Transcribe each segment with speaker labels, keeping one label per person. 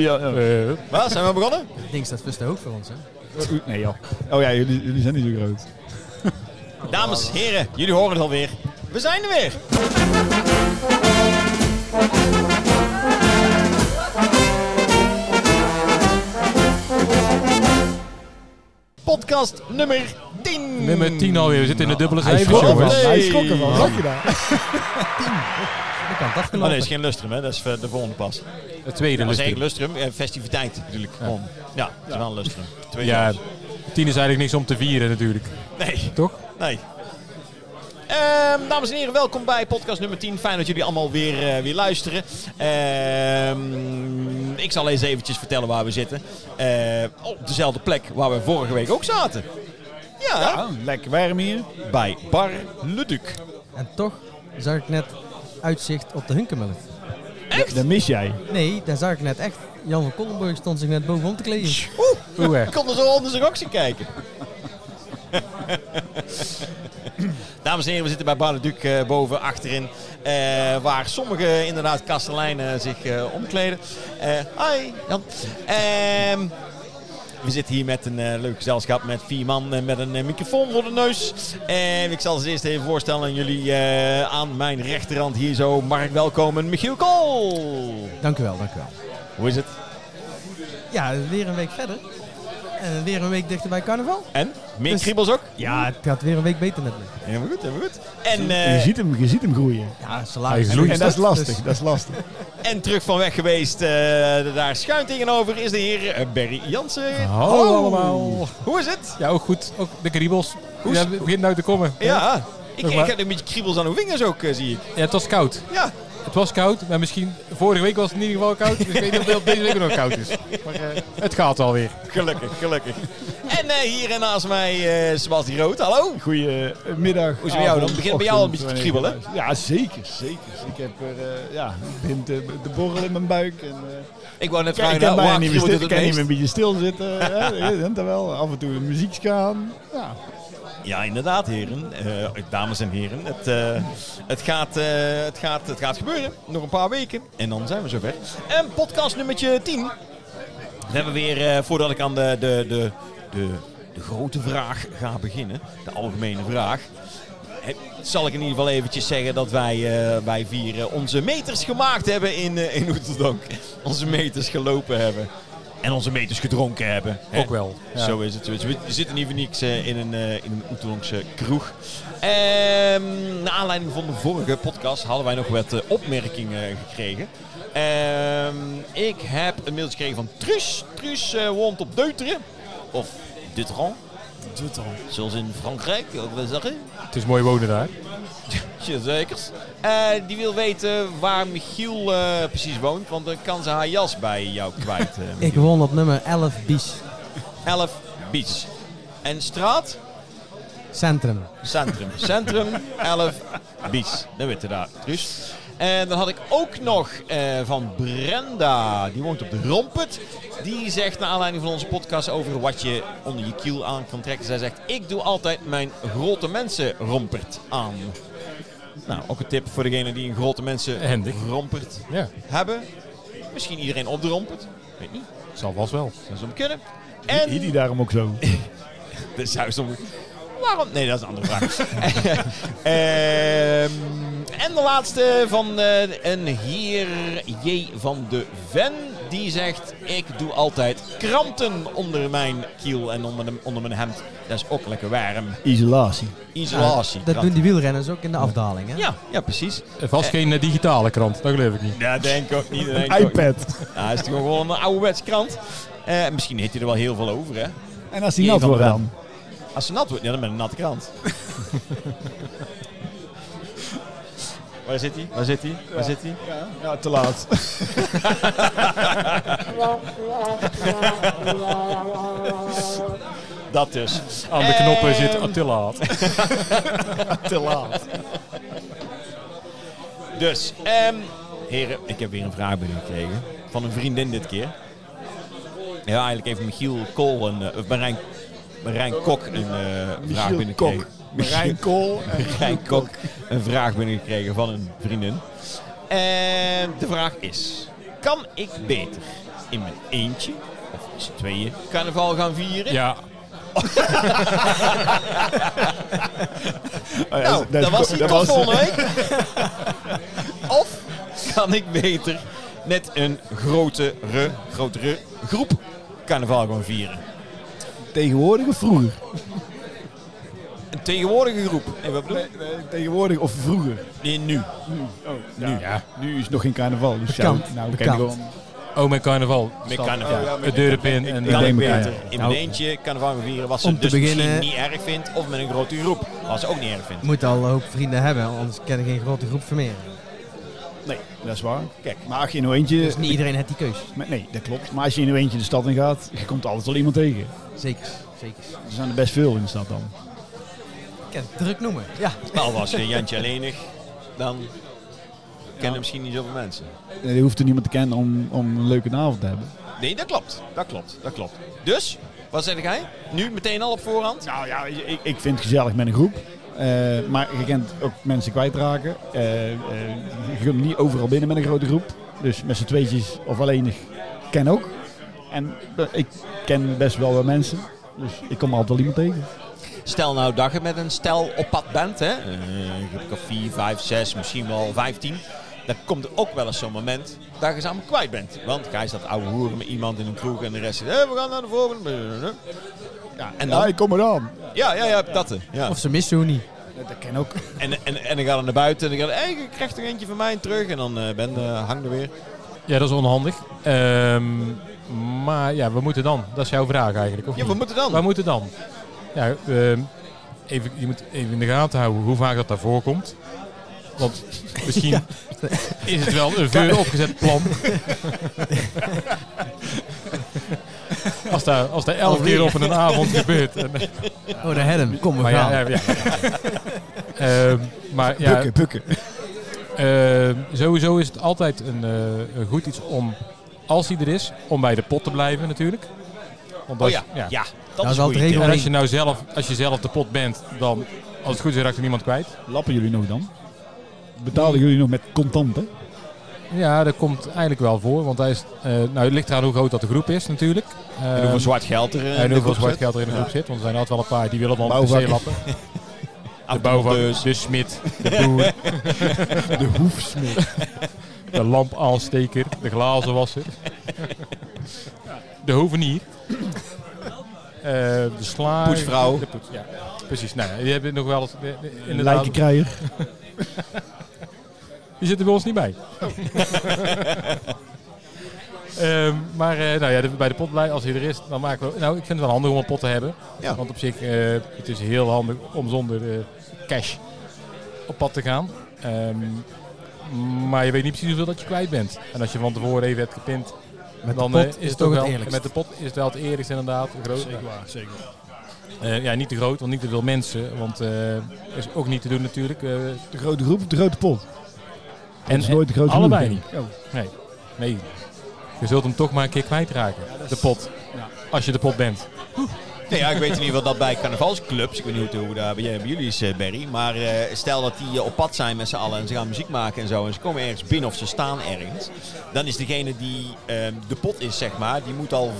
Speaker 1: Ja, ja.
Speaker 2: Eh,
Speaker 1: Waar zijn we begonnen?
Speaker 3: Links, dat is te hoog voor ons, hè?
Speaker 2: nee joh.
Speaker 1: Oh ja, jullie, jullie zijn niet zo groot. Dames, heren, jullie horen het alweer. We zijn er weer. Podcast nummer 10.
Speaker 2: Nummer 10 alweer. Oh We zitten in de dubbele
Speaker 3: hij
Speaker 2: cijfers,
Speaker 3: schrok
Speaker 2: jongens.
Speaker 3: ervan.
Speaker 1: Hey.
Speaker 4: Hij schrok ervan, zag je nou? dat?
Speaker 3: Dan kan
Speaker 1: Oh
Speaker 3: het
Speaker 1: nee,
Speaker 3: afgelopen.
Speaker 1: dat is geen lustrum, hè? dat is eh, de volgende pas.
Speaker 2: Het tweede
Speaker 1: Dat is
Speaker 2: lustrum.
Speaker 1: geen lustrum, eh, festiviteit natuurlijk. gewoon. Ja, het is wel een lustrum. Twee
Speaker 2: Ja,
Speaker 1: jongens.
Speaker 2: 10 is eigenlijk niks om te vieren natuurlijk.
Speaker 1: Nee.
Speaker 3: Toch?
Speaker 1: Nee. Ehm, dames en heren, welkom bij podcast nummer 10. Fijn dat jullie allemaal weer, eh, weer luisteren. Ehm, ik zal eens eventjes vertellen waar we zitten. Eh, op dezelfde plek waar we vorige week ook zaten. Ja,
Speaker 4: Oh, lekker warm hier.
Speaker 1: bij Bar Leduc.
Speaker 3: En toch zag ik net uitzicht op de Hunkemelk.
Speaker 1: Echt?
Speaker 4: Dat mis jij.
Speaker 3: Nee, daar zag ik net echt. Jan van Kollenburg stond zich net bovenom te kleden.
Speaker 1: Oeh,
Speaker 2: Oeh, hè.
Speaker 1: ik kon er zo onder zijn oksel kijken. Dames en heren, we zitten bij Bar Leduc eh, boven achterin. eh, waar sommige inderdaad kasteleinen zich eh, omkleden. Eh hi, Jan. Ehm, we zitten hier met een eh, leuk gezelschap met vier man en met een eh, microfoon voor de neus. En ik zal ze eerst even voorstellen aan jullie eh, aan mijn rechterhand hier zo. Mag ik welkomen Michiel Kool.
Speaker 3: Dank u wel, dank u wel.
Speaker 1: Hoe is het?
Speaker 3: Ja, weer een week verder. En weer een week dichter bij carnaval.
Speaker 1: En? Meer
Speaker 3: Dus-
Speaker 1: kriebels ook?
Speaker 3: Ja, het gaat weer een week beter met me.
Speaker 1: Helemaal goed, helemaal goed. En,
Speaker 4: je,
Speaker 1: eh,
Speaker 4: ziet hem, je ziet hem groeien.
Speaker 3: Ja,
Speaker 2: Hij
Speaker 3: salaris.
Speaker 2: gloeit.
Speaker 4: En dat Ah, is lastig,
Speaker 3: Dus-
Speaker 4: dat is lastig.
Speaker 1: en terug van weg geweest, eh, daar schuin tegenover, is de heer eh, Barry Jansen.
Speaker 2: Hallo Oh. allemaal.
Speaker 1: Hoe is het?
Speaker 2: Ja, ook goed. Ook de kriebels.
Speaker 1: Hoe is-
Speaker 2: Ja, het begint nou te komen.
Speaker 1: Ja, ik,
Speaker 2: Nog
Speaker 1: ik
Speaker 2: maar.
Speaker 1: heb een beetje kriebels aan de vingers ook, eh, zie ik.
Speaker 2: Ja, het was koud.
Speaker 1: Ja,
Speaker 2: Het was koud, maar misschien... Vorige week was het in ieder geval koud. Dus ik weet niet of het deze week nog koud is. Maar eh, het gaat alweer.
Speaker 1: gelukkig, gelukkig. en eh, hier naast mij eh Sebastian Rood, hallo.
Speaker 4: Goedemiddag.
Speaker 1: Hoe is het bij jou dan?
Speaker 4: avond,
Speaker 1: Begint bij jou al een beetje te
Speaker 4: ochtend,
Speaker 1: kriebelen,
Speaker 4: wanneer je luistert. Ja, zeker, zeker. Ik heb er, eh, ja, het begint eh, te borrelen in mijn buik. En, eh,
Speaker 1: Ik wou net
Speaker 4: ik
Speaker 1: vragen,
Speaker 4: kan
Speaker 1: nou,
Speaker 4: bijna
Speaker 1: waar
Speaker 4: niet meer
Speaker 1: kriebelt
Speaker 4: stil-
Speaker 1: het
Speaker 4: ik
Speaker 1: het
Speaker 4: kan niet meer
Speaker 1: meest?
Speaker 4: een beetje stilzitten. hè, je kent dat wel. Af en toe een muziekje aan. Ja.
Speaker 1: Ja, inderdaad, heren. Eh, dames en heren, het, eh, het, gaat, eh, het, gaat, het gaat gebeuren. Nog een paar weken en dan zijn we zover. En podcast nummertje 10. We hebben weer, eh, voordat ik aan de, de, de, de, de grote vraag ga beginnen, de algemene vraag. eh, Zal ik in ieder geval eventjes zeggen dat wij, eh, wij vier eh, onze meters gemaakt hebben in, eh in Oeteldonk. Onze meters gelopen hebben. En onze meters gedronken hebben. hè.
Speaker 2: Ook wel. Ja.
Speaker 1: Zo is het. zo is het. We zitten niet voor niks eh, in een, eh, in een Oeterlongse kroeg. Ehm naar aanleiding van de vorige podcast hadden wij nog wat eh, opmerkingen gekregen. Ehm, ik heb een mailtje gekregen van Truus. Truus eh, woont op Deuteren. Of Dutron, zoals in Frankrijk, wat we zeggen.
Speaker 2: Het is mooi wonen daar.
Speaker 1: Zekers. Eh, die wil weten waar Michiel eh, precies woont, want dan kan ze haar jas bij jou kwijt. eh,
Speaker 3: Ik
Speaker 1: Michiel.
Speaker 3: won op nummer 11 Bies
Speaker 1: 11 Beach. En straat?
Speaker 3: Centrum.
Speaker 1: Centrum. Centrum 11 Bies. Dat weten daar. Dus. En dan had ik ook nog eh, van Brenda, die woont op de Rompet. Die zegt naar aanleiding van onze podcast over wat je onder je kiel aan kan trekken. Zij zegt, ik doe altijd mijn grote mensen rompert aan. Nou, ook een tip voor degene die een grote mensen
Speaker 2: Handig.
Speaker 1: rompert
Speaker 2: Ja,
Speaker 1: hebben. Misschien iedereen op de rompert. Weet niet.
Speaker 2: zal vast wel.
Speaker 1: Zou ze hem kunnen.
Speaker 4: En... Hiet hij daarom ook zo.
Speaker 1: De saus om. Waarom? Nee, dat is een andere vraag. Ehm, en de laatste van eh, een heer J. van de Ven. Die zegt, ik doe altijd kranten onder mijn kiel en onder, de- onder mijn hemd. Dat is ook lekker warm.
Speaker 4: Isolatie.
Speaker 1: Isolatie.
Speaker 3: Dat doen
Speaker 1: kranten.
Speaker 3: die wielrenners ook in de afdaling, hè?
Speaker 1: Ja, ja, precies.
Speaker 2: Eh, Vast geen eh, digitale krant, dat geloof ik niet.
Speaker 1: Ja, denk ik ook niet. denk ik ook niet.
Speaker 4: iPad.
Speaker 1: Ja, is toch gewoon een ouderwets krant. Eh, misschien heet hij er wel heel veel over, hè?
Speaker 4: En als die
Speaker 1: Eén
Speaker 4: nat
Speaker 1: van
Speaker 4: wordt
Speaker 1: de
Speaker 4: dan?
Speaker 1: Als ze nat wordt, ja, dan met een natte krant. Waar zit hij? Waar zit hij? Waar zit hij?
Speaker 4: Ja, ja, te laat.
Speaker 1: Dat dus.
Speaker 2: Aan de knoppen
Speaker 1: Ehm,
Speaker 2: zit Attila.
Speaker 4: te laat.
Speaker 1: Dus, ehm, heren, ik heb weer een vraag binnengekregen. Van een vriendin dit keer. Ja, eigenlijk even Michiel Kool en eh, of Marijn, Marijn Kok een eh, vraag
Speaker 4: Michiel
Speaker 1: binnengekregen.
Speaker 4: Kok. Marijn Kool. en
Speaker 1: Marijn Kok een vraag binnengekregen Eh, van een vriendin. En de vraag is: kan ik beter in mijn eentje, of met z'n tweeën, carnaval gaan vieren.
Speaker 2: Ja,
Speaker 4: Oh ja,
Speaker 1: Nou, dat,
Speaker 4: is-
Speaker 1: was hij
Speaker 4: dat
Speaker 1: tot
Speaker 4: was-
Speaker 1: volgende week. of kan ik beter met een grotere, grotere groep carnaval gaan vieren?
Speaker 4: Tegenwoordig of vroeger?
Speaker 1: Een tegenwoordige groep. En wat bedoel je?
Speaker 4: Eh, tegenwoordig of vroeger?
Speaker 1: Nee, nu.
Speaker 4: nu. Oh,
Speaker 2: ja.
Speaker 4: Nu is het nog geen carnaval. Dus
Speaker 3: Bekend,
Speaker 4: ja, nou, we
Speaker 3: bekend.
Speaker 4: kennen gewoon...
Speaker 2: Oh, met carnaval.
Speaker 1: Met carnaval.
Speaker 2: Het deurenpin en
Speaker 4: ik
Speaker 1: Kan ik
Speaker 4: denk
Speaker 2: elkaar.
Speaker 1: beter in mijn
Speaker 3: Nou,
Speaker 1: eentje carnaval gaan vieren wat ze
Speaker 3: om te
Speaker 1: dus misschien
Speaker 3: beginnen-
Speaker 1: niet erg vindt. Of met een grote groep, wat ze ook niet erg vindt.
Speaker 3: Je moet al een hoop vrienden hebben, anders ken ik geen grote groep Vermeer.
Speaker 4: Nee, dat is waar.
Speaker 1: Kijk.
Speaker 4: Maar als je in een eentje...
Speaker 3: Dus niet iedereen heeft die keus.
Speaker 4: Maar Nee, dat klopt. Maar als je in een eentje de stad in gaat, je komt altijd wel iemand tegen.
Speaker 3: Zeker, zeker.
Speaker 4: Er zijn er best veel in de stad dan.
Speaker 3: Ik kan het druk noemen. Ja.
Speaker 1: Nou, was je Jantje alleenig, dan kennen misschien niet zoveel mensen.
Speaker 4: Eh, Je hoeft er niemand te kennen om, om een leuke avond te hebben.
Speaker 1: Nee, dat klopt. Dat klopt. Dat klopt. Dus, wat zeg jij? Nu meteen al op voorhand?
Speaker 4: Nou ja, ik, ik vind het gezellig met een groep. Eh, maar je kent ook mensen kwijtraken. Eh, eh, je kunt niet overal binnen met een grote groep. Dus met z'n tweetjes of alleenig ken ook. En eh, ik ken best wel wat mensen. Dus ik kom altijd wel iemand tegen.
Speaker 1: Stel nou dat je met een stel op pad bent, hè? Eh, groep of 4, 5, 6, misschien wel 15. Dan komt er ook wel eens zo'n moment dat je ze allemaal kwijt bent. Want gij staat oude hoeren met iemand in een kroeg en de rest zegt, "Hé, we gaan naar de volgende.
Speaker 4: Ja,
Speaker 1: en
Speaker 4: en
Speaker 1: dan?
Speaker 4: dan? kom maar dan. Eh,
Speaker 1: Ja, ja, ja, dat. eh, Ja.
Speaker 3: Of ze missen hoe niet.
Speaker 4: Dat ken ook.
Speaker 1: En, en, en dan gaat hij naar buiten en dan gaat hij, hey, je krijgt er eentje van mij terug. En dan eh, ben je, hang er weer.
Speaker 2: Ja, dat is onhandig. Ehm, maar ja, we moeten dan. Dat is jouw vraag eigenlijk. Of
Speaker 1: Ja,
Speaker 2: niet?
Speaker 1: we moeten dan.
Speaker 2: Waar moet het dan? Ja, ehm, even, je moet even in de gaten houden hoe vaak dat daar voorkomt. Want misschien is het wel een veel opgezet plan. als daar, als daar elf keer op een avond gebeurt. En,
Speaker 3: Oh, daar hebben hem. Kom, we
Speaker 2: maar
Speaker 3: gaan.
Speaker 2: ja, ja, ja. Ehm, maar ja,
Speaker 4: Bukken, bukken.
Speaker 2: ehm, sowieso is het altijd een, eh, een goed iets om, als hij er is, om bij de pot te blijven natuurlijk. Want
Speaker 1: Oh
Speaker 2: als-
Speaker 1: ja, ja. dat
Speaker 3: Nou,
Speaker 1: is
Speaker 3: is
Speaker 1: een
Speaker 3: wel het
Speaker 1: goeie tip.
Speaker 2: En als je nou zelf, als je zelf de pot bent, dan als het goed is, raakt er niemand kwijt.
Speaker 4: Lappen jullie nog dan? Betalen jullie nog met contanten?
Speaker 2: Ja, dat komt eigenlijk wel voor. Want hij is, eh, nou, het ligt eraan hoe groot dat de groep is natuurlijk.
Speaker 1: En
Speaker 2: Ehm,
Speaker 1: hoeveel zwart geld er eh, in
Speaker 2: en
Speaker 1: de
Speaker 2: hoeveel
Speaker 1: groep
Speaker 2: zwart
Speaker 1: zit.
Speaker 2: geld er in de groep zit. Want er zijn altijd wel een paar die willen wel
Speaker 4: Bouwvakker.
Speaker 2: de lappen. De
Speaker 1: Af-
Speaker 2: bouwvakker,
Speaker 1: dus.
Speaker 2: de smid, de boer,
Speaker 4: De hoefsmid.
Speaker 2: de lampaansteker, de glazenwasser. De hovenier. Eh, de slager.
Speaker 1: Poetsvrouw.
Speaker 2: De poets, ja. Precies. Nou, ja, die hebben nog wel eens... eh, eh,
Speaker 4: Een
Speaker 2: Inderdaad,
Speaker 4: lijkenkrijger.
Speaker 2: Die zitten bij ons niet bij. Ehm, maar eh, nou ja, de- bij de pot blij, als hij er is, dan maken we. Nou, ik vind het wel handig om een pot te hebben.
Speaker 1: Ja.
Speaker 2: Want op zich, eh, het is heel handig om zonder eh, cash op pad te gaan. Ehm, maar je weet niet precies hoeveel dat je kwijt bent. En als je van tevoren even hebt gepint,
Speaker 3: Met de
Speaker 2: dan
Speaker 3: pot
Speaker 2: eh, is het
Speaker 3: toch
Speaker 2: ook
Speaker 3: het
Speaker 2: wel.
Speaker 3: eerlijkst.
Speaker 2: met de pot is het wel het eerlijkst inderdaad. Groot.
Speaker 4: waar, zeker.
Speaker 2: Eh, ja, niet te groot, want niet te veel mensen. Want eh is ook niet te doen natuurlijk. Eh,
Speaker 4: De grote groep of de grote pot?
Speaker 2: en
Speaker 4: Dat is nooit de grote
Speaker 2: allebei
Speaker 4: groep,
Speaker 2: niet.
Speaker 4: denk ik. Oh.
Speaker 2: Nee, nee. Je zult hem toch maar een keer kwijtraken. De pot.
Speaker 4: ja.
Speaker 2: Als je de pot bent.
Speaker 1: Nee, ja, ik weet in ieder geval dat bij carnavalsclubs, ik weet niet hoe, hoe dat bij, jij- bij jullie is, eh, Barry, maar eh, stel dat die eh, op pad zijn met z'n allen en ze gaan muziek maken en zo en ze komen ergens binnen of ze staan ergens, dan is degene die ehm, de pot is, zeg maar, die moet al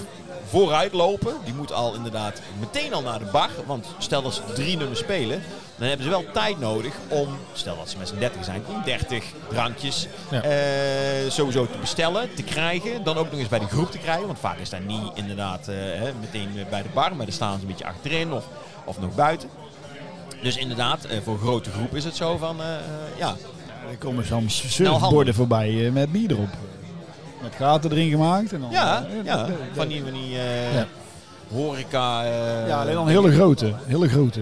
Speaker 1: vooruit lopen, die moet al inderdaad meteen al naar de bar, want stel dat ze drie nummers spelen, dan hebben ze wel tijd nodig om, stel dat ze met z'n 30 zijn, om 30 drankjes
Speaker 2: Ja.
Speaker 1: eh, sowieso te bestellen, te krijgen. Dan ook nog eens bij de groep te krijgen. Want vaak is daar niet inderdaad eh, hè, meteen eh, bij de bar, maar daar staan ze een beetje achterin of, of nog buiten. Dus inderdaad, eh, voor een grote groep is het zo van, eh, eh, ja,
Speaker 4: Er komen soms
Speaker 1: handig.
Speaker 4: surfborden voorbij eh, met bier erop. Met gaten erin gemaakt. En dan,
Speaker 1: ja,
Speaker 4: eh,
Speaker 1: ja,
Speaker 4: de- de-
Speaker 1: van die, van die eh,
Speaker 2: Ja.
Speaker 1: horeca. eh,
Speaker 4: ja, alleen dan hele grote. Hele grote.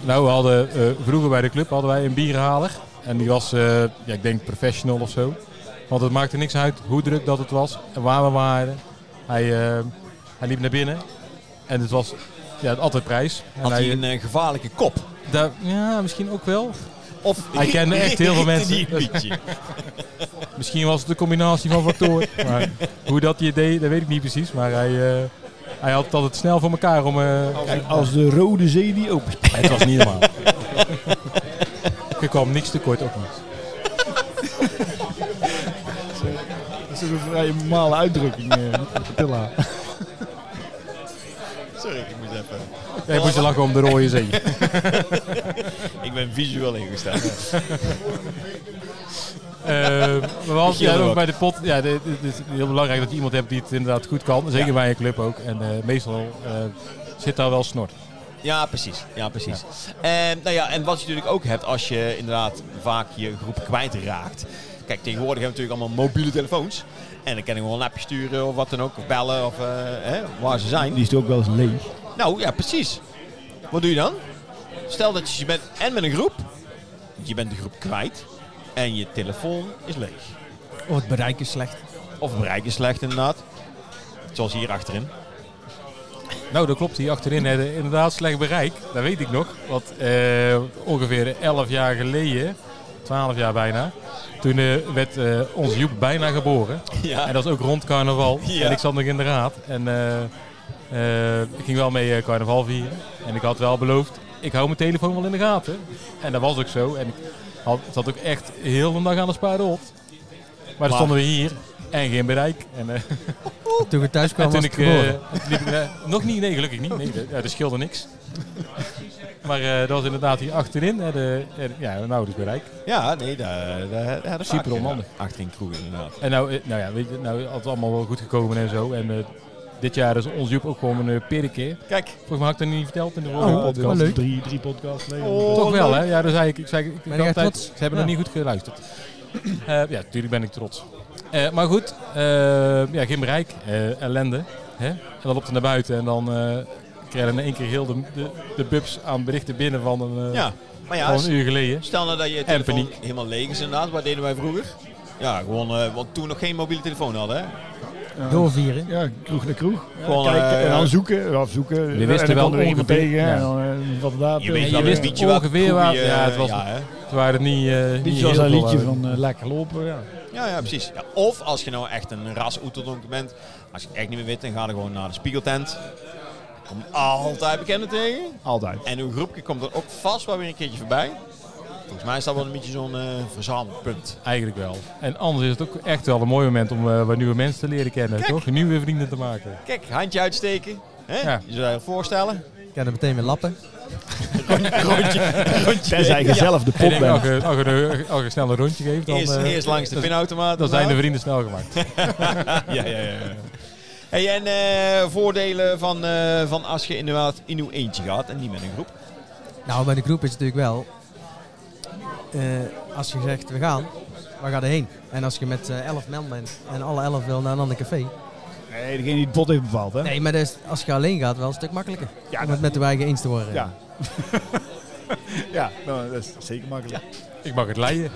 Speaker 2: Nou, we hadden eh, vroeger bij de club hadden wij een bierhaler. En die was, eh, ja, ik denk professional of zo. Want het maakte niks uit hoe druk dat het was en waar we waren. Hij, eh, hij liep naar binnen. En het was ja, altijd prijs. En
Speaker 1: had
Speaker 2: hij, eh,
Speaker 1: hij een eh, gevaarlijke kop.
Speaker 2: daar- ja, misschien ook wel.
Speaker 1: Of
Speaker 2: Hij kende echt heel veel mensen.
Speaker 1: Die een beetje.
Speaker 2: Misschien was het een combinatie van factoren. maar hoe dat hij het deed, dat weet ik niet precies. Maar hij, eh, hij had het altijd snel voor elkaar om... eh,
Speaker 4: Kijk, als de Rode Zee die open staat.
Speaker 2: Het was niet normaal. Je kwam niks tekort op niet.
Speaker 4: Dat is is een vrij normale uitdrukking, eh, Attila.
Speaker 1: Sorry, ik moet even...
Speaker 2: Ja, je moet je lachen om de rode zee.
Speaker 1: Ik ben visueel ingesteld.
Speaker 2: Eh, maar we hadden
Speaker 1: Michiel
Speaker 2: ja,
Speaker 1: er
Speaker 2: ook
Speaker 1: ook.
Speaker 2: bij de pot. Ja, het is heel belangrijk dat je iemand hebt die het inderdaad goed kan. Zeker bij een club ook. En eh, meestal eh, zit daar wel snor.
Speaker 1: Ja, precies. Ja, precies. En, nou ja, en wat je natuurlijk ook hebt als je inderdaad vaak je groep kwijtraakt. Kijk, tegenwoordig hebben we natuurlijk allemaal mobiele telefoons. En dan kan ik gewoon een appje sturen of wat dan ook. Of bellen of eh, hè, waar ze zijn.
Speaker 4: Die is toch ook wel eens leeg.
Speaker 1: Nou ja, precies. Wat doe je dan? Stel dat je bent en met een groep. Je bent de groep kwijt. En je telefoon is leeg.
Speaker 3: Oh, het bereik is slecht.
Speaker 1: Of het bereik is slecht inderdaad. Zoals hier achterin.
Speaker 2: Nou, dat klopt hier achterin. Hè. De- Inderdaad, slecht bereik. Dat weet ik nog. Want eh, ongeveer 11 jaar geleden, 12 jaar bijna, toen eh, werd eh, onze Joep bijna geboren. En
Speaker 1: Ja.
Speaker 2: dat is ook rond carnaval.
Speaker 1: Ja.
Speaker 2: En ik zat nog in de raad. En eh, eh, ik ging wel mee eh, carnaval vieren. En ik had wel beloofd, ik hou mijn telefoon wel in de gaten. En dat was ook zo. En ik had, zat ook echt heel de dag aan de spaarrot. Maar dan stonden we hier en geen bereik. En, eh,
Speaker 3: Toen we thuis
Speaker 2: en
Speaker 3: kwamen
Speaker 2: toen
Speaker 3: was
Speaker 2: ik...
Speaker 3: ik geboren.
Speaker 2: eh, liep ik naar- nog niet, nee, gelukkig niet. Nee, dat, ja, dat scheelde niks. maar eh, dat was inderdaad hier achterin. hè, de, en, ja, nou, dus bereik.
Speaker 1: Ja, nee, daar, daar, daar
Speaker 2: Super onhandig.
Speaker 1: Achterin kroeg inderdaad.
Speaker 2: En nou, eh, nou ja, weet je, nou, het is allemaal wel goed gekomen en zo. En eh, dit jaar is ons Joep ook gewoon een perikeer.
Speaker 1: Kijk,
Speaker 2: Volgens mij had ik dat niet verteld in de vorige
Speaker 4: Een
Speaker 3: wat
Speaker 2: podcast.
Speaker 3: leuk.
Speaker 4: Drie, drie podcasts leeg.
Speaker 1: Oh.
Speaker 2: Toch wel, hè? Ja, dat zei ik. ik, zei, ik, ik
Speaker 3: Ben je echt
Speaker 2: altijd,
Speaker 3: trots?
Speaker 2: ze hebben
Speaker 3: Ja.
Speaker 2: nog niet goed geluisterd. Eh, ja, natuurlijk ben ik trots. Eh, maar goed, eh, ja, geen bereik, eh, ellende. Hè? En dan loopt hij naar buiten en dan eh krijgen we in één keer heel de, de, de bubs aan berichten binnen van een, eh,
Speaker 1: ja. Maar ja,
Speaker 2: van een uur geleden.
Speaker 1: Stel nou dat je
Speaker 2: En
Speaker 1: telefoon
Speaker 2: paniek.
Speaker 1: helemaal leeg is inderdaad. Wat deden wij vroeger? Ja, gewoon, eh, want toen nog geen mobiele telefoon hadden, hè?
Speaker 2: eh,
Speaker 4: Ja.
Speaker 3: Doorvieren.
Speaker 4: Ja, kroeg naar kroeg. Ja,
Speaker 1: Gewoon,
Speaker 4: kijken en
Speaker 1: eh,
Speaker 4: dan zoeken. Of zoeken.
Speaker 2: Je wist
Speaker 4: En dan
Speaker 2: er wel
Speaker 4: kwam er weer iemand
Speaker 2: ongeveer-
Speaker 4: tegen.
Speaker 2: ja.
Speaker 4: En dan, eh, wat daar.
Speaker 1: Je weet
Speaker 2: je
Speaker 1: wel
Speaker 2: wist
Speaker 1: een beetje wat
Speaker 2: ongeveer
Speaker 1: goeie,
Speaker 2: waar- ja, het
Speaker 1: eh,
Speaker 2: was-
Speaker 1: ja, hè?
Speaker 2: Het waren niet, eh, niet
Speaker 4: Beetje
Speaker 2: heel
Speaker 4: als dat
Speaker 2: veel,
Speaker 4: liedje
Speaker 2: eh,
Speaker 4: van eh, Lekker Lopen. Ja.
Speaker 1: ja, ja, precies. Ja, of als je nou echt een ras oeteldonk bent, als je het echt niet meer weet, dan ga je gewoon naar de spiegeltent. Er komt altijd bekenden tegen.
Speaker 4: Altijd.
Speaker 1: En uw groepje komt er ook vast wel weer een keertje voorbij. Volgens mij is dat wel een beetje zo'n eh, verzamelpunt.
Speaker 2: Eigenlijk wel. En anders is het ook echt wel een mooi moment om eh, wat nieuwe mensen te leren kennen,
Speaker 1: Kijk.
Speaker 2: toch? Nieuwe vrienden te maken.
Speaker 1: Kijk, handje uitsteken. Hè?
Speaker 2: Ja.
Speaker 1: Je zou je voorstellen.
Speaker 3: Ik kan er meteen weer lappen.
Speaker 1: Rondje, rondje.
Speaker 4: Tenzij je zelf de
Speaker 2: En
Speaker 4: pop
Speaker 2: ik denk, als,
Speaker 4: bent.
Speaker 2: je, als, je, als je snel een rondje geeft, dan,
Speaker 1: Eerst,
Speaker 2: eh,
Speaker 1: eerst Nou. langs de
Speaker 2: dan-
Speaker 1: pinautomaat.
Speaker 2: dan zijn de vrienden snel gemaakt.
Speaker 1: ja, ja, ja. ja. Hey, en eh, voordelen van, eh, van als je inderdaad in uw eentje gaat en niet met een groep.
Speaker 3: Nou, bij de groep is het natuurlijk wel. eh, als je zegt we gaan, waar ga je heen? En als je met eh, elf man bent en alle elf wil naar een ander café.
Speaker 4: Nee, degene die het pot heeft bepaald. Hè?
Speaker 3: Nee, maar dat is, als je alleen gaat, wel een stuk makkelijker.
Speaker 4: Ja,
Speaker 3: om
Speaker 4: dat-
Speaker 3: het met de eigen eens te worden.
Speaker 4: Ja. ja, nou, dat is zeker makkelijk.
Speaker 2: Ik mag het leiden.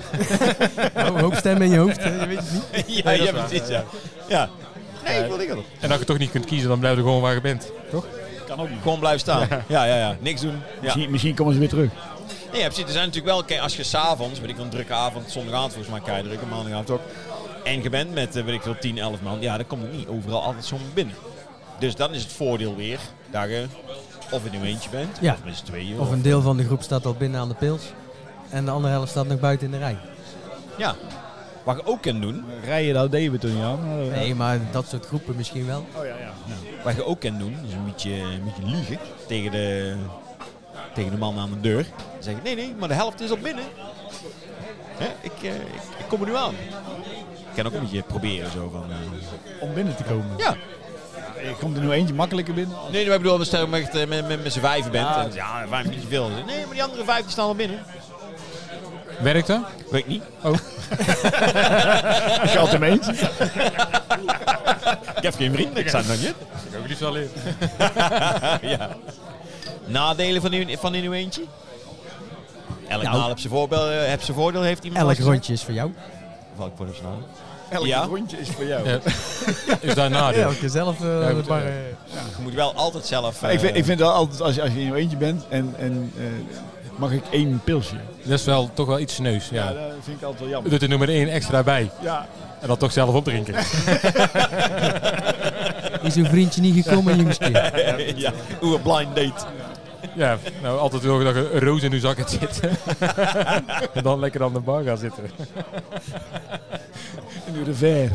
Speaker 3: Een hoop stemmen in je hoofd, hè, je weet het niet.
Speaker 1: ja,
Speaker 2: dat is
Speaker 1: ja,
Speaker 2: waar,
Speaker 1: precies, ja. ja. Nee, ik wil niet op.
Speaker 2: En als je toch niet kunt kiezen, dan blijf je gewoon waar je bent. Toch?
Speaker 4: Kan ook niet.
Speaker 1: Gewoon blijven staan. Ja, ja, ja. Niks doen. Ja.
Speaker 4: Misschien, misschien komen ze weer terug.
Speaker 1: Nee, ja, precies. Er zijn natuurlijk wel, kijk, als je s'avonds, weet ik wel, een drukke avond, zondagavond volgens mij kan je drukke, maandagavond ook. En je bent met, eh, weet ik veel, 10, 11 man. Ja, dan komt het niet overal altijd zo binnen. Dus dan is het voordeel weer dat je of in uw eentje bent,
Speaker 3: Ja.
Speaker 1: of met z'n tweeën.
Speaker 3: Of een deel van de groep staat al binnen aan de pils. En de andere helft staat nog buiten in de rij.
Speaker 1: Ja. Wat je ook kunt doen,
Speaker 4: Rijden, dat deden we toen, Jan. Eh,
Speaker 3: Nee, maar dat soort groepen misschien wel.
Speaker 4: Oh ja, ja.
Speaker 1: Wat je ook kan doen, is een beetje, een beetje liegen tegen de, tegen de man aan de deur. Dan zeg je, nee, nee, maar de helft is al binnen. Hè? Ik, eh, ik, ik kom er nu aan. Ik kan ook een beetje proberen zo van... eh,
Speaker 4: Om binnen te komen.
Speaker 1: ja,
Speaker 4: Je komt er nu eentje makkelijker binnen.
Speaker 1: nee, nee, maar ik bedoel, als je met, eh, met, met, met z'n vijven bent. Ja, en, ja vijf niet veel. Dan zeg je, Nee, maar die andere vijf die staan al binnen.
Speaker 2: Werkt dat?
Speaker 1: Weet ik niet.
Speaker 4: Ik had hem eens.
Speaker 1: Ik heb geen vrienden, ik sta nog niet.
Speaker 2: Ik ook niet wel in.
Speaker 1: ja. Nadelen van, uw- van in uw eentje? Elk
Speaker 3: Nou.
Speaker 1: maal heb zijn voordeel, heb zijn voordeel heeft iemand.
Speaker 3: Elk
Speaker 1: al gezegd.
Speaker 3: rondje is voor jou.
Speaker 1: Of elk voordeel is nou?
Speaker 4: Elk
Speaker 1: Ja.
Speaker 4: rondje is voor jou.
Speaker 2: Ja. Is daar een nadeel?
Speaker 3: Elke zelf eh,
Speaker 2: Ja, goed,
Speaker 3: de bar.
Speaker 2: ja.
Speaker 3: eh,
Speaker 1: Je moet wel altijd zelf...
Speaker 4: ik, vind,
Speaker 1: eh,
Speaker 4: ik vind wel altijd, als je, als je in je eentje bent en, en eh, mag ik één pilsje.
Speaker 2: Dat is wel toch wel iets sneus, ja.
Speaker 4: dat vind ik altijd wel
Speaker 2: Je
Speaker 4: jammer.
Speaker 2: doet er nummer één extra bij.
Speaker 4: Ja,
Speaker 2: En dan toch zelf opdrinken.
Speaker 3: Is uw vriendje niet gekomen, jongske?
Speaker 1: ja, hoe een blind date.
Speaker 2: Ja, nou altijd zorgen dat je een roos in je zak hebt zitten. en dan lekker aan de bar gaan zitten.
Speaker 4: Nu de ver.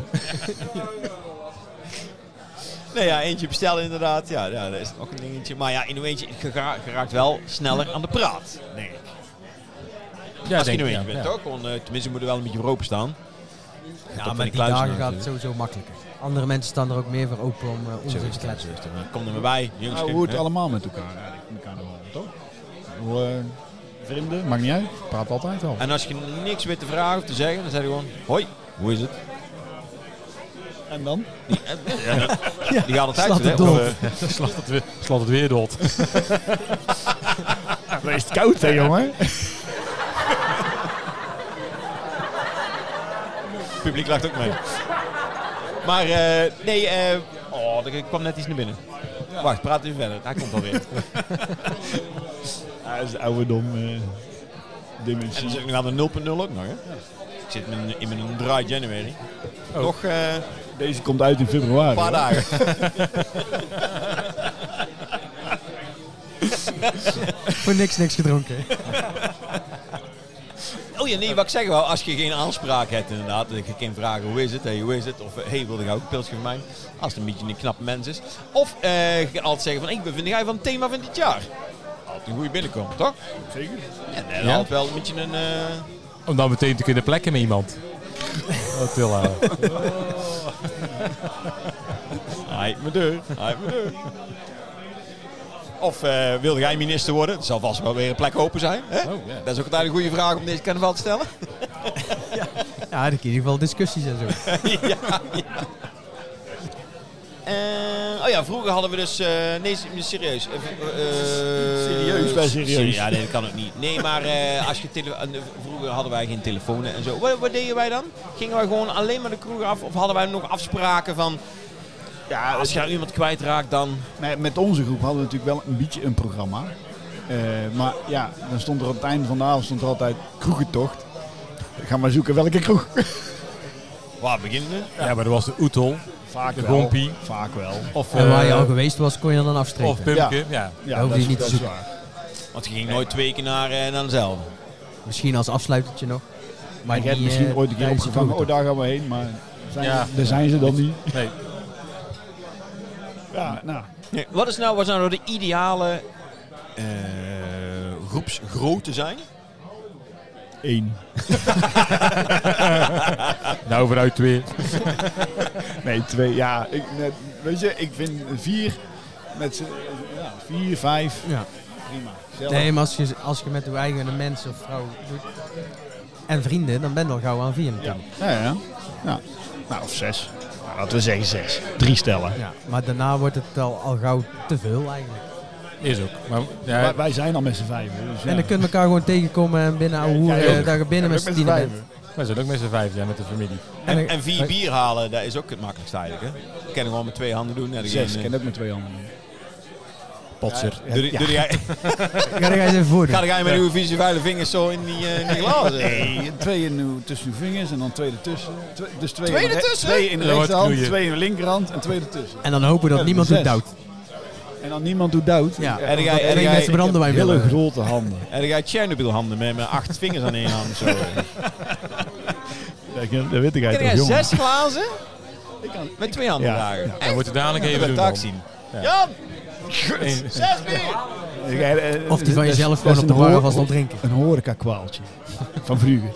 Speaker 1: Nee, ja, eentje bestellen inderdaad. Ja, ja, dat is ook een dingetje. Maar ja, in een eentje je ga- je raakt wel sneller aan de praat, denk ik.
Speaker 2: Ja,
Speaker 1: Als je in
Speaker 2: denk
Speaker 1: een
Speaker 2: ik,
Speaker 1: eentje
Speaker 2: ja,
Speaker 1: bent,
Speaker 2: ja.
Speaker 1: toch? Want, eh, tenminste, je moet er wel een beetje voor open staan. van
Speaker 3: Ja, maar
Speaker 1: die
Speaker 3: die
Speaker 1: kluizen
Speaker 3: dagen
Speaker 1: natuurlijk.
Speaker 3: gaat het sowieso makkelijker. Andere mensen staan er ook meer voor open om eh
Speaker 1: Zo
Speaker 3: onzin
Speaker 1: is
Speaker 3: te
Speaker 1: het,
Speaker 3: kletsen.
Speaker 1: zo is het. Dan Kom er maar bij, jongens.
Speaker 4: Nou,
Speaker 1: kijk,
Speaker 4: hoe het
Speaker 1: hè.
Speaker 4: allemaal met elkaar eigenlijk, met elkaar wel, toch? Hoe, eh, vrienden, maakt niet uit. Praat altijd al.
Speaker 1: En als je niks weet te vragen of te zeggen, dan zeg je gewoon... Hoi, hoe is het?
Speaker 4: En dan?
Speaker 1: Die gaat altijd
Speaker 3: slaat
Speaker 1: zo, hè?
Speaker 3: het door.
Speaker 1: Of, eh,
Speaker 2: slaat, het weer, slaat het weer dood.
Speaker 4: Dat is het koud, hè, jongen?
Speaker 1: Het publiek lacht ook mee. Maar eh, nee, eh, oh, er kwam net iets naar binnen. Wacht, praat even verder. Hij komt alweer.
Speaker 4: Ja, dat is de oude dom eh,
Speaker 1: en
Speaker 4: dimensie.
Speaker 1: dan zit ik nu aan de 0.0 ook nog, hè? Ik zit in mijn, in mijn dry January.
Speaker 2: Oh.
Speaker 1: Nog eh, een
Speaker 4: Deze komt uit in februari.
Speaker 1: paar
Speaker 4: hoor.
Speaker 1: dagen.
Speaker 3: Voor niks, niks gedronken.
Speaker 1: Oh ja, nee, wat ik zeg wel, als je geen aanspraak hebt inderdaad, dat je geen vragen hoe is het, hey, hoe is het, of hé, hey, wilde jij ook een pilsje van mij? Als het een beetje een knap mens is. Of eh, je kan altijd zeggen van, ik ben vind jij van het thema van dit jaar. Altijd een goede binnenkomt, toch?
Speaker 4: Zeker.
Speaker 1: Ja, nee,
Speaker 2: Ja.
Speaker 1: altijd wel een beetje een... eh,
Speaker 2: Om dan meteen te kunnen plekken met iemand. Dat wil houden.
Speaker 1: Hij me deur. Hij me deur. Of eh, wil jij minister worden? Er zal vast wel weer een plek open zijn. Hè?
Speaker 2: Oh, ja.
Speaker 1: Dat is ook altijd een goede vraag om deze carnaval te stellen.
Speaker 3: Ja, dan kun je in ieder geval discussies en zo.
Speaker 1: ja, ja. Eh, oh ja, vroeger hadden we dus... eh, nee, serieus. Eh, eh,
Speaker 4: Serieus bij serieus.
Speaker 1: serie- Ja, nee, dat kan ook niet. Nee, maar eh, als je tele- eh, vroeger hadden wij geen telefoon en zo. Wat, wat deden wij dan? Gingen wij gewoon alleen maar de kroeg af? Of hadden wij nog afspraken van... Ja, als je nou iemand kwijtraakt, dan...
Speaker 4: Nee, met onze groep hadden we natuurlijk wel een beetje een programma. Eh, maar ja, dan stond er op het einde van de avond stond er altijd kroegentocht. Ga maar zoeken welke kroeg.
Speaker 1: Waar beginnen we?
Speaker 2: Ja, maar dat was de Oetel.
Speaker 4: Vaak
Speaker 2: De Gompie.
Speaker 4: Vaak wel.
Speaker 2: Of,
Speaker 3: En waar je
Speaker 2: eh,
Speaker 3: al geweest was, kon je dan
Speaker 2: of
Speaker 3: afstrepen.
Speaker 2: Pumpke. Ja.
Speaker 3: Daar hoef je
Speaker 4: is-
Speaker 3: niet te
Speaker 4: is
Speaker 3: zoeken.
Speaker 4: waar.
Speaker 1: Want je ging nooit twee keer naar eh, naar dezelfde.
Speaker 3: Misschien als afsluitertje nog. Maar
Speaker 4: Ik heb
Speaker 3: die,
Speaker 4: misschien
Speaker 3: eh,
Speaker 4: ooit een keer
Speaker 3: tijdens de
Speaker 4: opgevangen, oh
Speaker 3: vroege
Speaker 4: daar gaan we heen, maar zijn
Speaker 2: Ja.
Speaker 4: daar zijn ze dan niet.
Speaker 2: Nee.
Speaker 4: Ja, nou,
Speaker 1: Wat is nou, wat zou nou de ideale eh groepsgrootte zijn?
Speaker 4: één.
Speaker 2: Nou, vooruit twee.
Speaker 4: Nee, twee. Ja, ik, net- weet je, ik vind vier met z'n- ja, vier, vijf,
Speaker 3: tocht. Ja.
Speaker 4: prima. Zelf.
Speaker 3: Nee, maar als je, als je met je eigen mens of vrouw doet en vrienden, dan ben je al gauw aan vier
Speaker 4: Ja.
Speaker 3: natuurlijk.
Speaker 4: Ja, ja. ja. Nou, of zes. Nou, laten we zeggen zes. Drie stellen.
Speaker 3: Ja. Maar daarna wordt het al, al gauw te veel eigenlijk.
Speaker 2: Is ook. Maar, ja,
Speaker 4: Wij, wij zijn al met z'n vijven. Dus ja.
Speaker 3: En dan kun je elkaar gewoon tegenkomen en binnen ouwe
Speaker 4: Ja,
Speaker 3: hoeren,
Speaker 4: ja, ja.
Speaker 3: eh, daar je binnen met
Speaker 4: Ja,
Speaker 3: z'n tienen bent.
Speaker 2: wij zijn ook met z'n vijf zijn met de familie.
Speaker 3: En
Speaker 1: En,
Speaker 3: dan-
Speaker 1: en vier bier halen, dat is ook het makkelijkste eigenlijk. Hè? Ik kan gewoon met twee handen doen. Ja,
Speaker 4: Zes, ik ken ook met twee handen.
Speaker 2: Potser.
Speaker 1: eh, Doe, die- doe die- jij-
Speaker 3: Ga er eens even voor
Speaker 1: Ga
Speaker 3: doen.
Speaker 1: jij met uw vieze vuile vingers zo in die, eh, in die glazen?
Speaker 4: Nee, twee in uw, tussen uw vingers en dan twee ertussen. Twee, dus twee,
Speaker 1: Twee
Speaker 4: in de re-
Speaker 1: ertussen?
Speaker 4: twee in de
Speaker 2: Dat wordt
Speaker 4: rechterhand,
Speaker 2: knoeien.
Speaker 4: twee in de linkerhand en twee ertussen.
Speaker 3: En dan hopen dat
Speaker 4: Ja,
Speaker 3: niemand
Speaker 4: zes.
Speaker 3: het duwt.
Speaker 4: En dan niemand doet dood.
Speaker 3: Ja.
Speaker 1: En jij- en
Speaker 3: Twee
Speaker 1: jij-
Speaker 3: mensen brandewijn
Speaker 4: Hele
Speaker 3: willen.
Speaker 4: grote handen.
Speaker 1: En dan ga je Chernobyl handen met, met acht vingers aan één hand. Zo.
Speaker 4: Dat weet ik
Speaker 1: Ken jij zes glazen met twee handen
Speaker 4: Ja.
Speaker 1: dragen?
Speaker 2: Ja, moet je dadelijk
Speaker 1: Dat wil
Speaker 2: even
Speaker 1: ik
Speaker 2: doen.
Speaker 1: taak
Speaker 2: dan.
Speaker 1: zien.
Speaker 2: Ja.
Speaker 1: Jan,
Speaker 2: Eén-
Speaker 1: zes bier!
Speaker 4: eh,
Speaker 3: Of die van jezelf gewoon op de bar alvast al drinken.
Speaker 4: Een horeca kwaaltje van vroeger.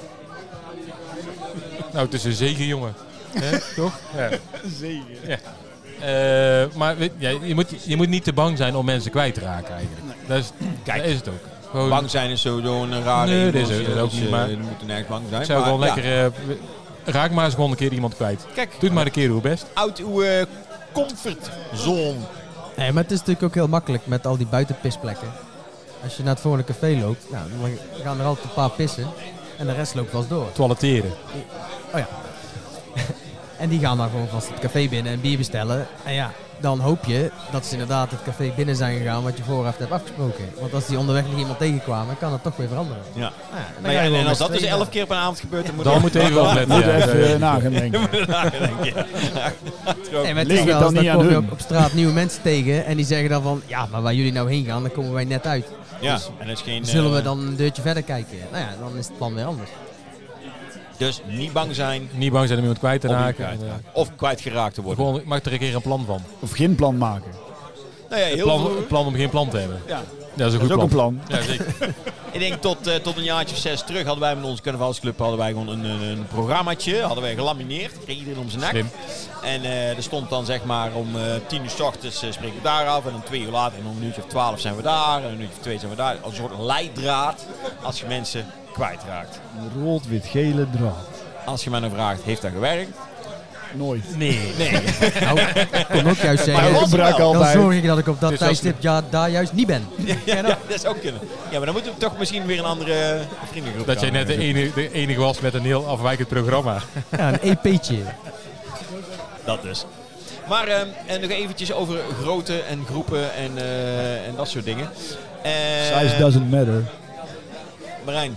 Speaker 2: Nou, het is een zeker jongen. Hè, toch? Ja.
Speaker 4: Zeker.
Speaker 2: Eh, maar weet- ja, je, moet, je moet niet te bang zijn om mensen kwijt te raken eigenlijk. Dat is,
Speaker 1: Kijk.
Speaker 2: dat is het ook. Gewoon,
Speaker 1: Bang zijn is sowieso een rare
Speaker 2: Nee, dat is
Speaker 1: emotie,
Speaker 2: het ook
Speaker 1: dus,
Speaker 2: niet,
Speaker 1: eh,
Speaker 2: maar-
Speaker 1: Je moet er nergens bang zijn.
Speaker 2: ik zou
Speaker 1: maar
Speaker 2: gewoon
Speaker 1: ja.
Speaker 2: lekker... eh, we- raak maar eens gewoon een keer iemand kwijt.
Speaker 1: Kijk,
Speaker 2: Doe het maar een keer uw best.
Speaker 1: uit uw eh, comfortzone.
Speaker 3: Nee, maar het is natuurlijk ook heel makkelijk met al die buitenpisplekken. Als je naar het volgende café loopt, nou, dan gaan er altijd een paar pissen. En de rest loopt vast door. Oh
Speaker 2: Toiletteren.
Speaker 3: En die gaan dan gewoon vast het café binnen en bier bestellen. En ja, dan hoop je dat ze inderdaad het café binnen zijn gegaan wat je vooraf hebt afgesproken. Want als die onderweg nog iemand tegenkwamen, kan het toch weer veranderen.
Speaker 1: Ja.
Speaker 3: Nou ja, dan
Speaker 1: Maar
Speaker 3: ga
Speaker 1: ja,
Speaker 3: je
Speaker 1: en,
Speaker 3: gewoon
Speaker 1: als
Speaker 3: met
Speaker 1: dat dus
Speaker 3: z'n
Speaker 1: elf keer per avond gebeurt, dan moet
Speaker 2: Dan moet je even opletten.
Speaker 4: Moet even
Speaker 2: ja.
Speaker 4: eh, nagaan denken.
Speaker 1: moet nadenken. Ja.
Speaker 3: Nee, maar het
Speaker 4: Ligt
Speaker 3: is
Speaker 4: het
Speaker 3: wel
Speaker 4: dan
Speaker 3: eens, dan
Speaker 4: niet
Speaker 3: kom
Speaker 4: aan
Speaker 3: je
Speaker 4: hun?
Speaker 3: op, op straat nieuwe mensen tegen en die zeggen dan van, ja, maar waar jullie nou heen gaan, dan komen wij net uit.
Speaker 1: Ja, Dus en dat is geen,
Speaker 3: Zullen we
Speaker 1: eh,
Speaker 3: dan een deurtje verder kijken? Nou ja, dan is het plan weer anders.
Speaker 1: Dus niet bang zijn
Speaker 2: Niet bang zijn om iemand kwijt te
Speaker 1: om je
Speaker 2: raken.
Speaker 1: kwijt te
Speaker 2: Ja.
Speaker 1: raken. of kwijtgeraakt te worden.
Speaker 2: Gewoon, ik maak er een keer een plan van.
Speaker 4: Of geen plan maken.
Speaker 1: Nou ja,
Speaker 2: Het
Speaker 1: heel
Speaker 2: plan,
Speaker 1: veel-
Speaker 2: het plan om geen plan te hebben.
Speaker 4: Ja.
Speaker 2: Dat is een
Speaker 4: Dat is
Speaker 2: goed
Speaker 4: ook een
Speaker 2: plan.
Speaker 4: plan.
Speaker 2: Ja, zeker.
Speaker 1: Ik denk tot, eh, tot een jaartje of zes terug hadden wij met onze carnavalsclub hadden wij gewoon een, een, een programmaatje. Hadden wij gelamineerd. Kreeg iedereen om zijn nek.
Speaker 2: Slim.
Speaker 1: En eh, er stond dan zeg maar om eh, tien uur s ochtends eh, spreken we daar af. En om twee uur later en om een uurtje of twaalf zijn we daar. En om een uurtje of twee zijn we daar. Als een soort leidraad als je mensen kwijtraakt.
Speaker 4: Rood, wit, gele draad.
Speaker 1: Als je mij dan vraagt, heeft dat gewerkt?
Speaker 4: Nooit.
Speaker 1: Nee. Nee.
Speaker 3: Nou, ik kon ook juist
Speaker 1: Maar
Speaker 4: Ik
Speaker 1: was
Speaker 3: zeggen,
Speaker 1: het
Speaker 4: gebruik
Speaker 1: wel?
Speaker 3: dan
Speaker 4: altijd.
Speaker 3: zorg ik dat ik op dat
Speaker 2: Het is als-
Speaker 3: tijdstip ja, daar juist niet ben.
Speaker 1: ja, ja, dat zou kunnen. Ja, maar dan moeten we toch misschien weer een andere vriendengroep
Speaker 2: Dat jij
Speaker 1: gaan,
Speaker 2: net de
Speaker 1: eh,
Speaker 2: enige, de enige was met een heel afwijkend programma.
Speaker 3: Ja, een E EP'tje.
Speaker 1: Dat dus. Maar ehm, en nog eventjes over grootte en groepen en, eh, en dat soort dingen. Eh,
Speaker 4: Size doesn't matter.
Speaker 1: Marijn.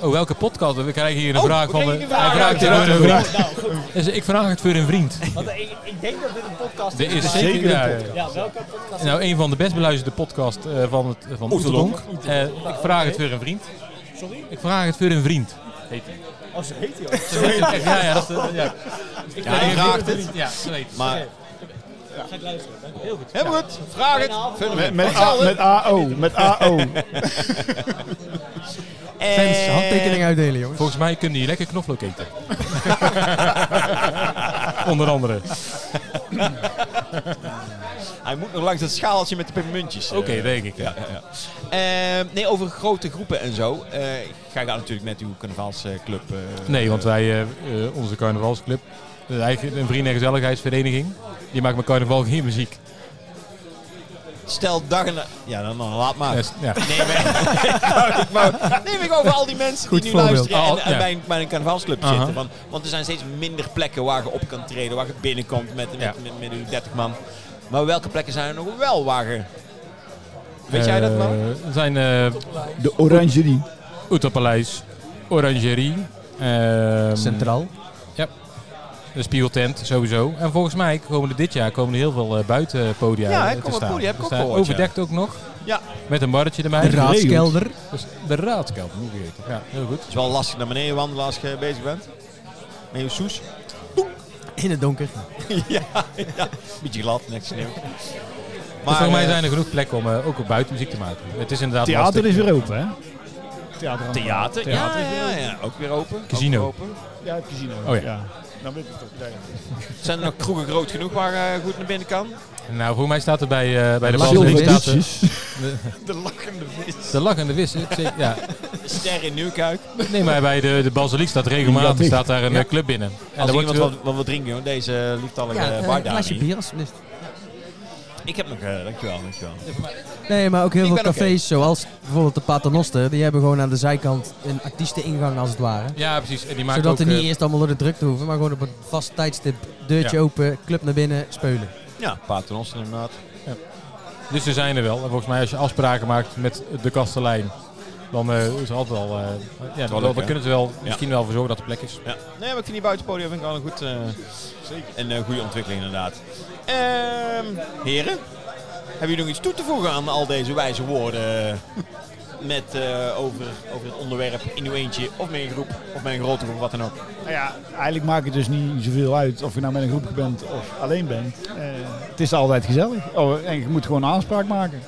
Speaker 2: Oh, welke podcast? We krijgen hier een
Speaker 1: Oh,
Speaker 2: vraag
Speaker 1: we
Speaker 2: van...
Speaker 1: krijgen
Speaker 2: de-
Speaker 1: een vraag.
Speaker 2: Hij vraagt
Speaker 1: Ja,
Speaker 2: het aan
Speaker 1: ja,
Speaker 2: een
Speaker 1: ja.
Speaker 2: vriend. Dus ik vraag het voor een vriend.
Speaker 5: Want eh, ik, ik denk dat dit een podcast
Speaker 3: E
Speaker 2: Er is
Speaker 5: maar-
Speaker 2: zeker
Speaker 4: zeker een
Speaker 2: ja, ja.
Speaker 4: podcast.
Speaker 5: Ja, welke podcast?
Speaker 2: Nou, een van de best beluisterde podcasts eh, van, het, van Oeteldonk. Eh, ik vraag het voor een vriend.
Speaker 5: Sorry?
Speaker 2: Ik vraag het voor een vriend.
Speaker 5: Oh, zo heet hij ook.
Speaker 2: Ja, ja, dat, eh, ja. Ik
Speaker 1: hij vraagt het.
Speaker 2: Ja, zo weet het.
Speaker 1: Maar,
Speaker 5: Ga ik luisteren. hè? Heel goed.
Speaker 1: Heel goed, vraag het. Vul hem
Speaker 4: Met,
Speaker 1: in.
Speaker 4: met,
Speaker 1: Ik zal
Speaker 4: A-
Speaker 1: het.
Speaker 4: met AO. Met AO.
Speaker 3: Fans,
Speaker 1: En-
Speaker 3: handtekeningen uitdelen, jongens.
Speaker 2: Volgens mij kunnen die lekker knoflook eten. Onder andere. Oké,
Speaker 1: Hij moet nog langs dat schaaltje met de peppermuntjes. eh.
Speaker 2: denk ik.
Speaker 1: Ja, ja, ja. Eh, nee, over grote groepen en zo. Eh ga daar natuurlijk net uw carnavalsclub... eh,
Speaker 2: Nee, want wij, eh, eh, onze carnavalsclub, dat is eigenlijk een vrienden- en gezelligheidsvereniging, die maakt met carnaval geen muziek.
Speaker 1: Stel dag en... na- Ja, dan, dan laat maar.
Speaker 2: Dus, ja.
Speaker 1: Nee, maar, ik wou- ik wou- nee, maar ik over al die mensen
Speaker 3: Goed
Speaker 1: die nu
Speaker 3: voorbeeld.
Speaker 1: luisteren en,
Speaker 2: Oh,
Speaker 1: en
Speaker 2: ja.
Speaker 1: bij, een- bij een carnavalsclub
Speaker 2: Aha.
Speaker 1: zitten. Want, want er zijn steeds minder plekken waar je op kan treden, waar je binnenkomt met, met,
Speaker 2: Ja.
Speaker 1: met, met uw 30 man. Maar welke plekken zijn er nog wel waar je... Weet jij dat, man?
Speaker 2: Eh, Er zijn eh
Speaker 4: De orangerie.
Speaker 2: Oeterpaleis, Orangerie, ehm,
Speaker 3: Centraal.
Speaker 2: de Spiegeltent sowieso. En volgens mij komen er dit jaar komen er heel veel eh, buitenpodia
Speaker 1: Ja, hè,
Speaker 2: eh, te
Speaker 1: komen
Speaker 2: staan.
Speaker 1: podia, heb ik
Speaker 2: Er
Speaker 1: ook
Speaker 2: staan
Speaker 1: gehoord, ja.
Speaker 2: Overdekt ook nog,
Speaker 1: Ja.
Speaker 2: met een barretje erbij.
Speaker 3: De raadskelder.
Speaker 2: Dus de raadskelder, moet ik weten. Ja, heel goed.
Speaker 1: Het is wel lastig naar beneden wandelen als je bezig bent. Met je soes.
Speaker 3: In het donker.
Speaker 1: ja, ja, beetje glad, niks sneeuw.
Speaker 2: Maar Dus volgens mij
Speaker 1: eh,
Speaker 2: zijn er genoeg plekken om eh, ook op buiten muziek te maken. Het is inderdaad
Speaker 4: Theater
Speaker 2: lastig.
Speaker 4: is weer open, hè? Theater.
Speaker 1: eh, Theater,
Speaker 4: Theater is
Speaker 1: ja,
Speaker 4: weer
Speaker 1: ja,
Speaker 4: open.
Speaker 1: ja, ook weer open.
Speaker 2: Casino.
Speaker 1: Ook weer open.
Speaker 4: Ja, Nou, het casino.
Speaker 2: Oh ja.
Speaker 4: Dan weet ik het ook.
Speaker 1: Zijn er nog kroegen groot genoeg waar je goed naar binnen kan?
Speaker 2: Nou, voor mij staat er bij, eh, bij de
Speaker 3: Lachende
Speaker 2: Balzee
Speaker 3: vis.
Speaker 2: staat er-
Speaker 1: De lachende vis.
Speaker 2: de lachende vis. hè? Ik zeg- Ja.
Speaker 1: Ster in Nieuwkuik.
Speaker 2: Nee, maar bij de, de Basiliek staat regelmatig
Speaker 4: Ja,
Speaker 2: staat daar een eh, club binnen. En
Speaker 1: Als
Speaker 2: daar wordt
Speaker 1: iemand
Speaker 2: wel-
Speaker 1: wat, wat wil drinken, joh. deze lieftallige
Speaker 3: Ja,
Speaker 1: ja,
Speaker 3: eh, een glasje bier alsjeblieft.
Speaker 1: Ik heb nog, eh, dankjewel, dankjewel.
Speaker 3: Nee, maar ook heel
Speaker 1: Ik
Speaker 3: veel
Speaker 1: ben oké.
Speaker 3: cafés, zoals bijvoorbeeld de Paternoster, die hebben gewoon aan de zijkant een artiesteningang als het ware.
Speaker 2: Ja, precies. En die maakt
Speaker 3: Zodat
Speaker 2: ook,
Speaker 3: er niet
Speaker 2: eh,
Speaker 3: eerst allemaal door de drukte hoeven, maar gewoon op een vast tijdstip, deurtje
Speaker 2: Ja.
Speaker 3: open, club naar binnen, speulen.
Speaker 1: Ja, Paternoster inderdaad.
Speaker 2: Dus er zijn er wel. En volgens mij als je afspraken maakt met de kastelein, dan eh, is er altijd wel... eh, ja, dan,
Speaker 1: leuk,
Speaker 2: dan
Speaker 1: hè?
Speaker 2: kunnen ze wel misschien wel voor zorgen dat er plek is.
Speaker 1: Ja. Nee, maar ik vind die buitenpodium vind ik wel een goed, eh, een eh, goede ontwikkeling inderdaad. Ehm, heren, hebben jullie nog iets toe te voegen aan al deze wijze woorden eh, met, eh, over, over het onderwerp in uw eentje of met een groep of met een grote groep, wat dan ook?
Speaker 4: Nou ja, eigenlijk maakt het dus niet zoveel uit of je nou met een groep bent of alleen bent. Eh, het is altijd gezellig. Oh, en je moet gewoon aanspraak maken.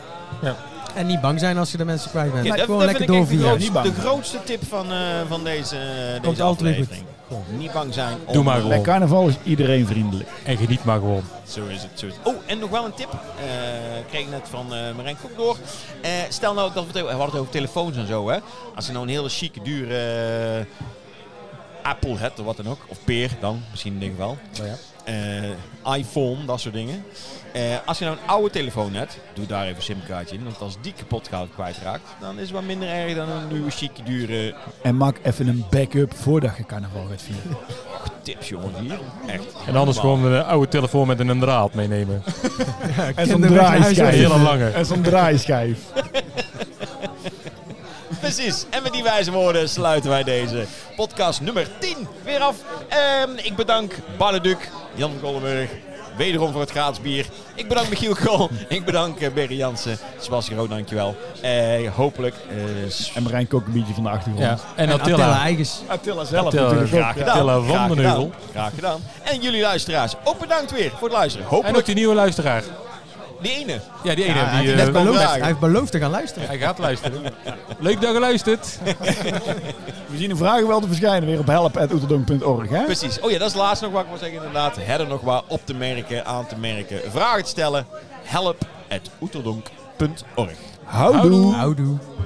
Speaker 3: En niet bang zijn als je de mensen kwijt bent.
Speaker 1: Ja, dat-
Speaker 3: gewoon
Speaker 1: dat
Speaker 3: lekker
Speaker 1: vind ik echt de
Speaker 3: doorvieren.
Speaker 1: grootste-
Speaker 4: Niet bang.
Speaker 1: De grootste tip van, eh, van deze, deze
Speaker 3: Komt altijd weer goed.
Speaker 1: aflevering. Niet bang zijn.
Speaker 2: Doe maar
Speaker 4: Bij
Speaker 2: gewoon.
Speaker 4: carnaval is iedereen vriendelijk.
Speaker 2: En geniet maar gewoon.
Speaker 1: Zo is het. Zo is het. Oh, en nog wel een tip. Eh kreeg ik net van eh Marijn Kok door. Eh, stel nou dat we, het- we hadden het over telefoons en zo. Hè? Als je nou een hele chique, dure eh, Apple hebt of wat dan ook. Of peer dan, misschien in ieder geval.
Speaker 2: Nou ja.
Speaker 1: eh, iPhone, dat soort dingen. Eh, als je nou een oude telefoon hebt, doe daar even een simkaartje in. Want als die kapot gaat kwijtraakt, dan is het wat minder erg dan een nieuwe chique dure
Speaker 4: En maak even een backup voordat je carnaval gaat vieren.
Speaker 1: tips, jongen. Hier. Echt.
Speaker 2: En anders
Speaker 1: Normaal.
Speaker 2: gewoon een oude telefoon met een draad meenemen.
Speaker 4: En zo'n
Speaker 3: Kinderweg naar
Speaker 2: Een
Speaker 4: draaischijf.
Speaker 2: hele lange.
Speaker 4: En zo'n draaischijf.
Speaker 1: Precies. En met die wijze woorden sluiten wij deze podcast nummer 10 weer af. Ehm, ik bedank Barleduc, Jan Kollenburg, wederom voor het gratis bier. Ik bedank Michiel Krol. ik bedank eh, Berry Jansen. Sebastian Rood, dankjewel. Eh, hopelijk. eh, s-
Speaker 4: En Marijn kookt een beetje van de achtergrond.
Speaker 2: Ja. En
Speaker 3: Attila
Speaker 2: Attila.
Speaker 3: Eigens.
Speaker 4: Attila zelf
Speaker 2: Attila,
Speaker 4: natuurlijk
Speaker 1: graag
Speaker 4: ook. ja.
Speaker 1: gedaan.
Speaker 2: Tellen van
Speaker 1: graag
Speaker 2: den
Speaker 1: gedaan.
Speaker 2: Heuvel.
Speaker 1: Graag gedaan. En jullie luisteraars, ook bedankt weer voor het luisteren.
Speaker 2: En ook
Speaker 1: Hopelijk
Speaker 2: die nieuwe luisteraar.
Speaker 1: die ene.
Speaker 2: Ja, die ene.
Speaker 3: Ja, hij,
Speaker 2: die,
Speaker 3: heeft net
Speaker 2: eh,
Speaker 1: wel-
Speaker 3: beloofd,
Speaker 1: vragen.
Speaker 3: hij heeft beloofd te gaan luisteren.
Speaker 2: hij gaat luisteren. Leuk dat je luistert.
Speaker 4: We zien de vragen wel te verschijnen weer op help.oeterdonk.org. hè?
Speaker 1: Precies. Oh ja, dat is het laatste nog wat ik wil zeggen inderdaad. Herder nog wat op te merken, aan te merken, vragen te stellen. Help at oeterdonk.org.
Speaker 4: Houdoe.
Speaker 3: Houdoe.